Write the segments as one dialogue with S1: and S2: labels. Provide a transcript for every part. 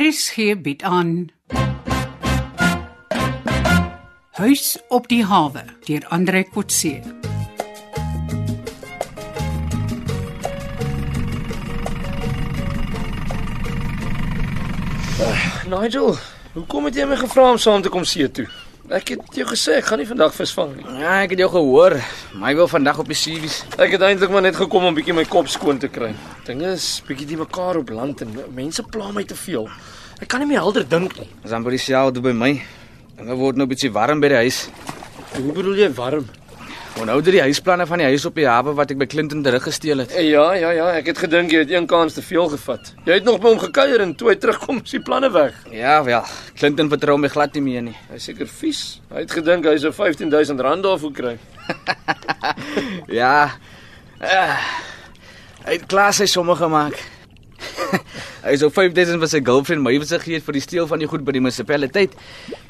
S1: RSG bied aan Huis op die hawe deur Andre Kotse.
S2: Nigel, hoekom het jy my gevra om saam te kom see toe? Ek het jou gesê ek gaan nie vandag visvang nie.
S3: Ja, ek het jou gehoor. My wil vandag op die series.
S2: Ek het eintlik maar net gekom om bietjie my kop skoon te kry. Dinge is bietjie die mekaar op land en mense pla my te veel. Ek kan nie meer helder dink nie.
S3: Ons amper dieselfde by my. Dinge word nou 'n bietjie warm by die huis.
S2: Hoe bedoel jy warm?
S3: Onthou dit die huisplanne van die huis op die hawe wat ek by Clinton teruggesteel het.
S2: Ja, ja, ja, ek het gedink jy het een kans te veel gevat. Jy het nog by hom gekuier en toe hy terugkom is die planne weg.
S3: Ja, wel. Clinton vertrou my glad nie meer nie.
S2: Hy is seker vies. Hy het gedink hy sou R15000 daarvoor kry.
S3: Ja. Uh, hy het klaar sy somme gemaak. hy sou 5000 vir sy girlfriend my besig gee het vir die steel van die goed by die munisipaliteit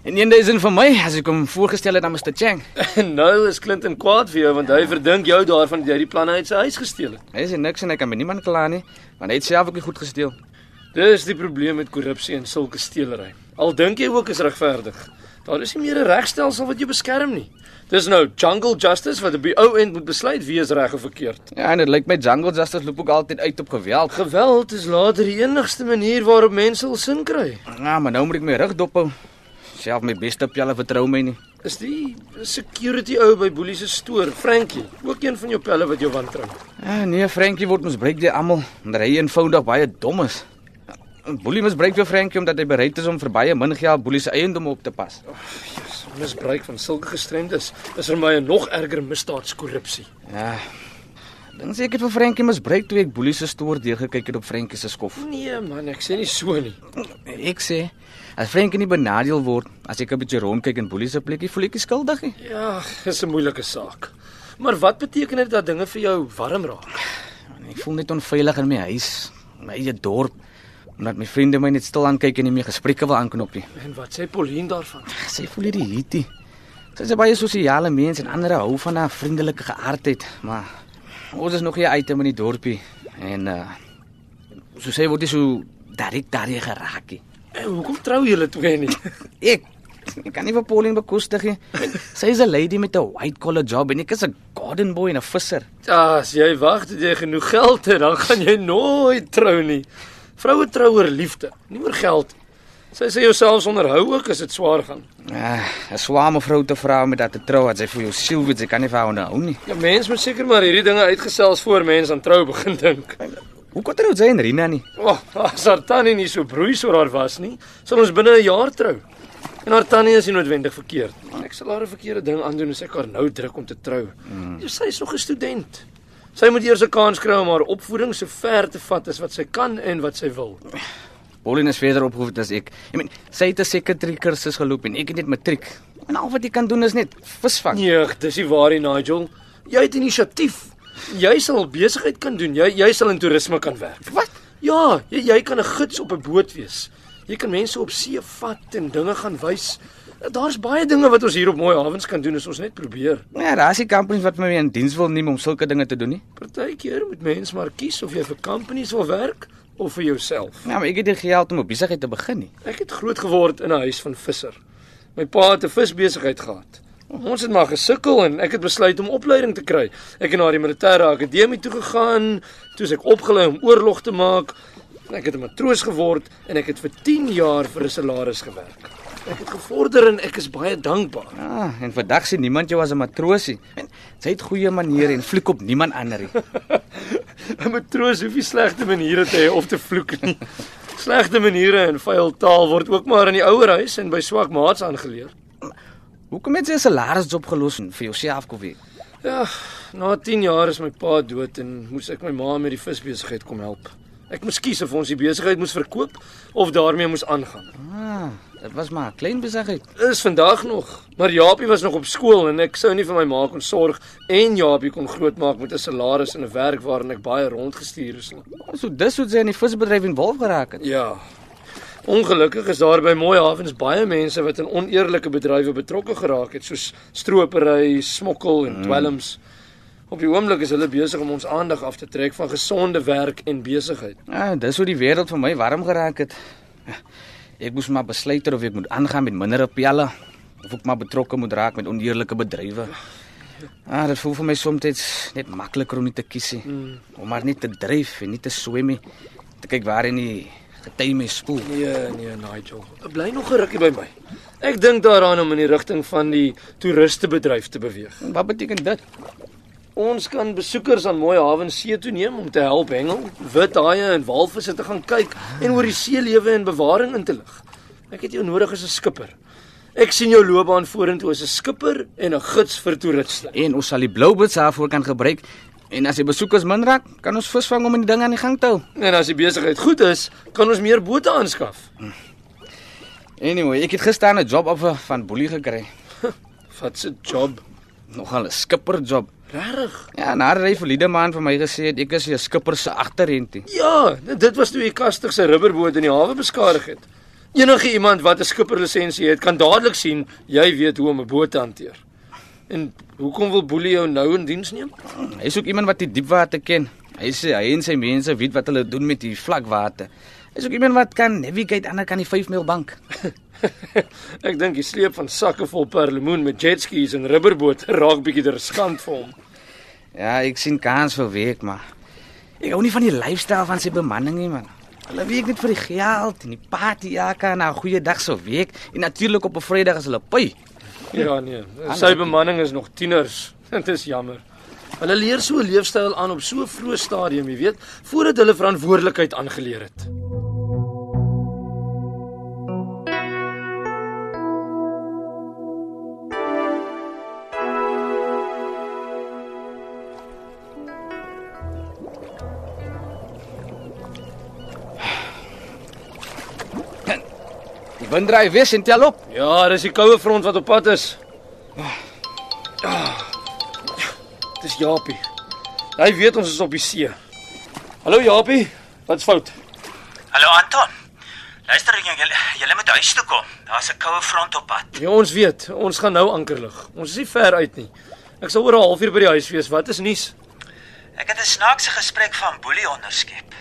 S3: en 1000 vir my as ek hom voorgestel het aan Mr Chang.
S2: En nou is Clinton kwaad vir jou want hy verdink jou daarvan dat jy die planne uit sy huis gesteel het.
S3: Hy sê niks en hy kan met niemand kla nie, want hy het self ook nie goed gesteel.
S2: Dis die probleem met korrupsie en sulke steelery. Al dink jy ook is regverdig. Daar is nie meer 'n regstelsel wat jou beskerm nie. Dis nou jungle justice wat op die ou end moet besluit wie is reg of verkeerd.
S3: Ja, en dit lyk my Jungle Justice loop ook altyd uit op geweld.
S2: Geweld is later die enigste manier waarop mense hul sin kry.
S3: Ja, maar nou moet ek my rug dophou. Self my beste pelle vertrou my nie.
S2: Is die security ou by Boelie se stoor, Frankie, ook een van jou pelle wat jou wantrou.
S3: Ja, nee, Frankie word misbruik deur almal omdat hy eenvoudig baie dom is. Boelie misbruik vir Frankie omdat hy bereid is om vir baie min geld Boelie se eiendom op te pas.
S2: Jesus, misbruik van sulke gestremdes is vir my 'n nog erger misdaadskorrupsie.
S3: Ja. Dink seker vir Frankie misbruik toe ek Boelie se stoor deurgekyk het op Frankie se skof.
S2: Nee man, ek sê nie so nie.
S3: Ek sê, as Frankie nie benadeel word as ek 'n bietjie rondkyk in Boelie se plekkie, voel ek nie skuldig nie.
S2: Ja, dis 'n moeilike saak. Maar wat beteken dit dat dinge vir jou warm raak?
S3: Ek voel net onveilig in my huis, my eie dorp, omdat my vriende my net stil aankyk en nie meer gesprekke wil aanknop nie.
S2: En wat sê Pauline daarvan?
S3: Sy voel hierdie hitie. Sy is 'n baie sosiale mens en ander hou van haar vriendelike geaardheid, maar ons is nog hier uit in die dorpie en uh so sê word dit so direk daardie geraakie.
S2: En hoekom trou julle twee nie?
S3: Ek ek kan nie vir Pauline bekostig nie. Sy is 'n lady met 'n white collar job en ek is 'n garden boy en 'n visser.
S2: Ja, as jy wag tot jy genoeg geld het, dan gaan jy nooit trou nie. Vroue trou oor liefde, nie oor geld. Sy sê jouself onderhou ook as dit swaar gaan.
S3: Uh, 'n swaar mevrou te vra om dat te trou as sy vir jou siel weet, sy kan nie vir haar nou nie.
S2: Ja, mens moet seker maar hierdie dinge uitgesels voor mens aan trou begin dink.
S3: Hoe kon dit sy en Rina nie?
S2: O, oh, as haar tannie nie so broeis oor haar was nie, sal ons binne 'n jaar trou. En haar tannie is nie noodwendig verkeerd nie. Ek sal haar 'n verkeerde ding aandoen as ek haar nou druk om te trou. Mm. Sy is nog 'n student. Sy moet eers 'n kans kry om haar opvoeding so ver te vat as wat sy kan en wat sy wil.
S3: Pauline is verder opgevoed as ek. Ek meen, sy het 'n sekretary kursus geloop en ek het net matriek. En al wat jy kan doen is net visvang.
S2: Nee, dis nie waar nie, Nigel. Jy het inisiatief. Jy sal besigheid kan doen. Jy jy sal in toerisme kan werk.
S3: Wat?
S2: Ja, jy, jy kan 'n gids op 'n boot wees. Jy kan mense op see vat en dinge gaan wys. Daar's baie dinge wat ons hier op Mooi Hawens kan doen as ons net probeer.
S3: Ja, daar's die companies wat my in diens wil neem om sulke dinge te doen nie.
S2: Partykeer moet mens maar kies of jy vir companies wil werk of vir jouself.
S3: Ja, maar ek het nie geld om 'n besigheid te begin nie.
S2: Ek het groot geword in 'n huis van visser. My pa het 'n visbesigheid gehad. Ons het maar gesukkel en ek het besluit om opleiding te kry. Ek het na die militêre akademie toe gegaan, toe is ek opgelei om oorlog te maak. Ek het 'n matroos geword en ek het vir 10 jaar vir 'n salaris gewerk. Ek het gevorder en ek is baie dankbaar.
S3: Ja, en vandag sien niemand jou as 'n matroosie. En sy het goeie maniere en fliek op niemand ander nie.
S2: 'n Matroos hoef nie slegte maniere te hê of te vloek nie. Slegte maniere en vuil taal word ook maar in die ouerhuis en by swak maats aangeleer.
S3: Hoekom het sy 'n salarisjob gelos en vir jouself kom weer?
S2: Ja, na 10 jaar is my pa dood en moes ek my ma met die visbesigheid kom help. Ek moes kies of ons die besigheid moes verkoop of daarmee moes aangaan.
S3: Ah, dit was maar 'n klein besigheid.
S2: Is vandag nog, maar Japie was nog op skool en ek sou nie vir my ma kon sorg en Japie kon grootmaak met 'n salaris en 'n werk waarin ek baie rondgestuur is nie.
S3: So dis hoe sy in die visbedryf involf geraak het.
S2: Ja. Ongelukkig is daar by Mooi Hawens baie mense wat in oneerlike bedrywe betrokke geraak het, soos stropery, smokkel en dwelms. Op die oomblik is hulle besig om ons aandag af te trek van gesonde werk en besigheid.
S3: Ah, Ja, dis hoe die wêreld vir my warm geraak het. Ek moes maar besluit ter of ek moet aangaan met minder pelle of ek maar betrokke moet raak met oneerlike bedrywe. Ah, dit voel vir my soms net makliker om nie te kies nie, om maar net te dryf en nie te swem nie. Te kyk waar in die gety my spoel.
S2: Nee, nee, Nigel. Bly nog 'n rukkie by my. Ek dink daaraan om in die rigting van die toeristebedryf te beweeg.
S3: Wat beteken dit?
S2: Ons kan besoekers aan mooi hawens see toe neem om te help hengel, wit haie en walvisse te gaan kyk en oor die seelewe en bewaring in te lig. Ek het jou nodig as 'n skipper. Ek sien jou loopbaan vorentoe as 'n skipper en 'n gids vir toeriste.
S3: En ons sal die bloubuts daarvoor kan gebruik. En as die besoekers min raak, kan ons visvang om die ding aan die gang te hou.
S2: En as die besigheid goed is, kan ons meer bote aanskaf.
S3: Anyway, ek het gister 'n job offer van Boelie gekry.
S2: Wat 'n job.
S3: Nogal 'n skipperjob.
S2: Regtig?
S3: Ja, en haar het hy verlede maand vir my gesê het, ek is 'n skipper se agterrentie.
S2: Ja, dit was toe die kastig se rubberboot in die hawe beskadig het. Enige iemand wat 'n skipperlisensie het, kan dadelik sien jy weet hoe om 'n boot te hanteer. En hoekom wil Boelie jou nou in diens neem?
S3: Hy soek iemand wat die diepwater ken. Hy sê hy en sy mense weet wat hulle doen met die vlakwater. Hy soek iemand wat kan navigate aan die ander kant die 5 mil bank.
S2: Ek dink die sleep van sakke vol perlemoen met jetskis en rubberboot raak bietjie riskant vir hom.
S3: Ja, ek sien kans vir werk, maar ek hou nie van die leefstyl van sy bemanning nie, man. Hulle werk net vir die geld en die partyjaka en 'n goeie dag se week en natuurlik op 'n Vrydag as hulle py.
S2: Ja nee, sy bemanning is nog tieners. Dit is jammer. Hulle leer so 'n leefstyl aan op so 'n vroeë stadium, jy weet, voordat hulle verantwoordelikheid aangeleer het.
S3: Die wind draai wes en tel op.
S2: Ja, dis die koue front wat op pad is. Ah, dis Japie. Hy weet ons is op die see. Hallo Japie, wat's fout?
S4: Hallo Anton. Luister ek julle julle moet huis toe kom. Daar's 'n koue front op pad.
S2: Ja, ons weet, ons gaan nou anker lig. Ons is nie ver uit nie. Ek sal oor 'n halfuur by die huis wees. Wat is nuus?
S4: Ek het 'n snaakse gesprek van Boelie onderskep.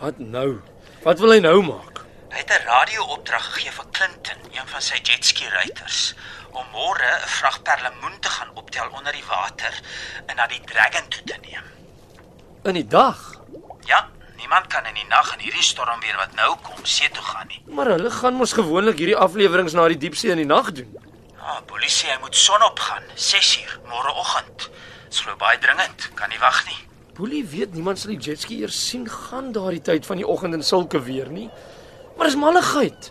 S2: Wat nou? Wat wil hy nou maak?
S4: Hy het 'n radio-opdrag gegee vir Clinton, een van sy jetski ruiters, om môre 'n vrag perlemoen te gaan optel onder die water en na die Dragon toe te neem.
S2: In die dag.
S4: Ja, niemand kan in die nag in hierdie storm weer wat nou kom see toe gaan nie.
S2: Maar hulle gaan mos gewoonlik hierdie afleweringe na die diepsee in die nag doen.
S4: Ja, Boelie sê hy moet sonop gaan, 6uur môreoggend. Dit glo baie dringend, kan nie wag nie.
S2: Boelie weet niemand sal die jetski eers sien gaan daardie tyd van die oggend in sulke weer nie. Maar dis malligheid.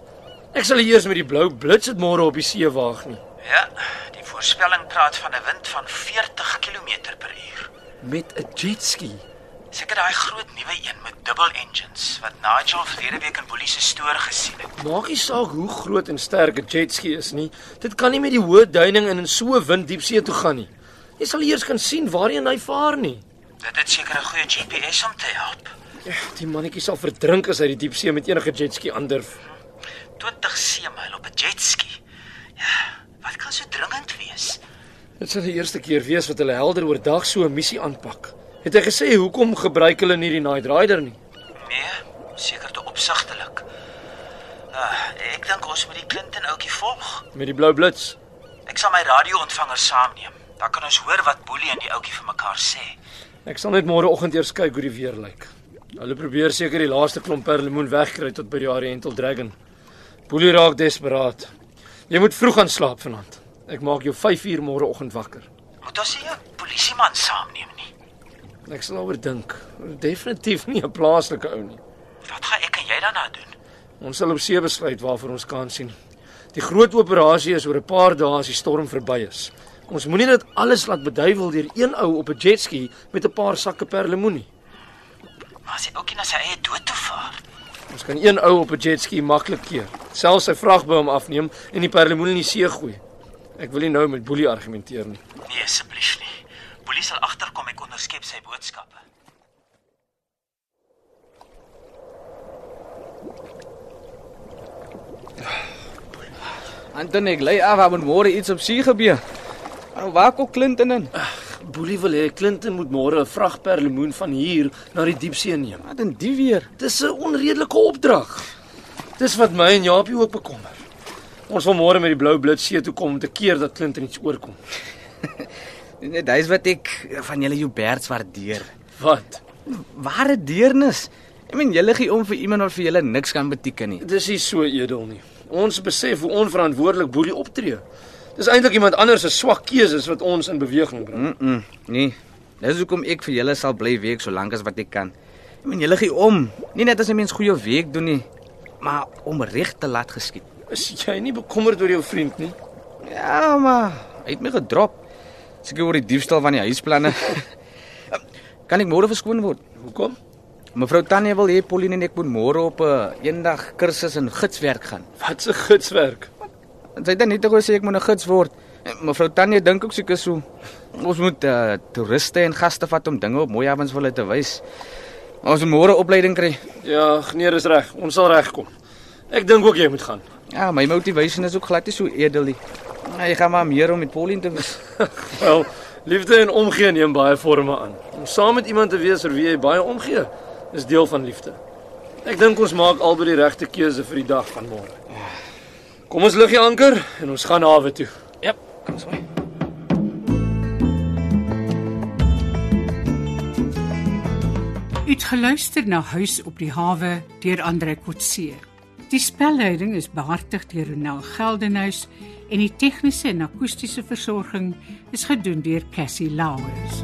S2: Ek sal nie eers met die blou blits dit môre op die see waag nie.
S4: Ja, die voorspelling praat van 'n wind van 40 km/h.
S2: Met 'n jetski.
S4: Seker daai groot nuwe een met dubbel engines wat Nigel verlede week in Boelie se stoor gesien het.
S2: Maak nie saak hoe groot en sterk 'n jetski is nie. Dit kan nie met die hoë duining en in so 'n wind diepsee toe gaan nie. Jy sal eers kan sien waarheen hy vaar nie.
S4: Dit het seker 'n goeie GPS om te help.
S2: Ech, die mannetjie sal verdrink as hy die diepsee met enige jetski aandurf.
S4: 20 seemyl op 'n jetski. Ja, wat kan so dringend wees?
S2: Dit sal die eerste keer wees wat hulle helder oordag so 'n missie aanpak. Het hy gesê hoekom gebruik hulle nie die Night Rider nie?
S4: Nee, seker te opsigtelik. Ah, ek dink ons moet die Clinton ouetjie volg.
S2: Met die blou blits.
S4: Ek sal my radio-ontvanger saamneem. Dan kan ons hoor wat Boelie en die ouetjie vir mekaar sê.
S2: Ek sal net môreoggend eers kyk hoe die weer lyk. Hulle probeer seker die laaste klomp perlemoen wegkry tot by die Oriental Dragon. Boelie raak desperaat. Jy moet vroeg gaan slaap vanaand. Ek maak jou 5uur môreoggend wakker.
S4: Moet ons nie 'n polisieman saamneem nie.
S2: Ek sal daaroor dink. Definitief nie 'n plaaslike ou nie.
S4: Wat gaan ek en jy daarna doen?
S2: Ons sal op see besluit waarvoor ons kan sien. Die groot operasie is oor 'n paar dae as die storm verby is. Ons moenie dat alles laat beduiwel deur een ou op 'n jetski met 'n paar sakke perlemoen nie.
S4: Maar as hy ook nie na sy eie dood toe vaar.
S2: Ons kan een ou op 'n jetski maklik keer, selfs sy vrag by hom afneem en die perlemoen in die see gooi. Ek wil nie nou met Boelie argumenteer nie.
S4: Nee, asseblief nie. Polisie sal agterkom ek onderskep sy boodskappe.
S3: Anton ek lei af, want môre iets op see gebeur. Maar waar kom Clinton in?
S2: Boelie wil hê Clinton moet môre 'n vrag perlemoen van hier na die diepsee neem.
S3: Wat in die weer?
S2: Dis 'n onredelike opdrag. Dis wat my en Japie ook bekommer. Ons wil môre met die blou blits see toe kom om te keer dat Clinton iets oorkom.
S3: Net dis wat ek van julle Huberts waardeer.
S2: Wat?
S3: Ware deernis. Ek meen julle gee om vir iemand wat vir julle niks kan beteken nie.
S2: Dis nie so edel nie. Ons besef hoe onverantwoordelik boelie optree. Dis eintlik iemand anders se swak keuses wat ons in beweging bring.
S3: Mm, -mm nee. Dis hoekom ek vir julle sal bly week solank as wat ek kan. Ek meen julle gee om. Nie net as 'n mens goeie werk doen nie, maar om reg te laat geskied.
S2: Is jy nie bekommerd oor jou vriend nie?
S3: Ja, maar hy het my gedrop. Seker oor die diefstal van die huisplanne. kan ek môre verskoon word?
S2: Hoekom?
S3: Mevrou Tannie wil hê Pauline en ek moet môre op 'n eendag kursus in gidswerk gaan.
S2: Wat 'n gitswerk.
S3: En Sy het dan net gou sê ek moet 'n gids word. En Mevrou Tannie dink ook seker so. Ons moet uh, toeriste en gaste vat om dinge op mooi avonds vir hulle te wys. Maar Ons moet môre opleiding kry.
S2: Ja, nee, dis reg. Ons sal regkom. Ek dink ook jy moet gaan.
S3: Ja, my motivation is ook glad nie so edel nie. Ja, Jy gaan maar meer om met Pauline te wees.
S2: Wel, liefde en omgee neem baie forme aan. Om saam met iemand te wees vir wie jy baie omgee, is deel van liefde. Ek dink ons maak albei die regte keuse vir die dag van môre. Kom ons lig die anker en ons gaan hawe toe.
S3: Jep, kom ons mooi.
S1: U het geluister na Huis op die hawe deur Andre Kotse. Die spelleiding is behartig deur Ronel Geldenhuys en die tegniese en akoestiese versorging is gedoen deur Cassie Lauers.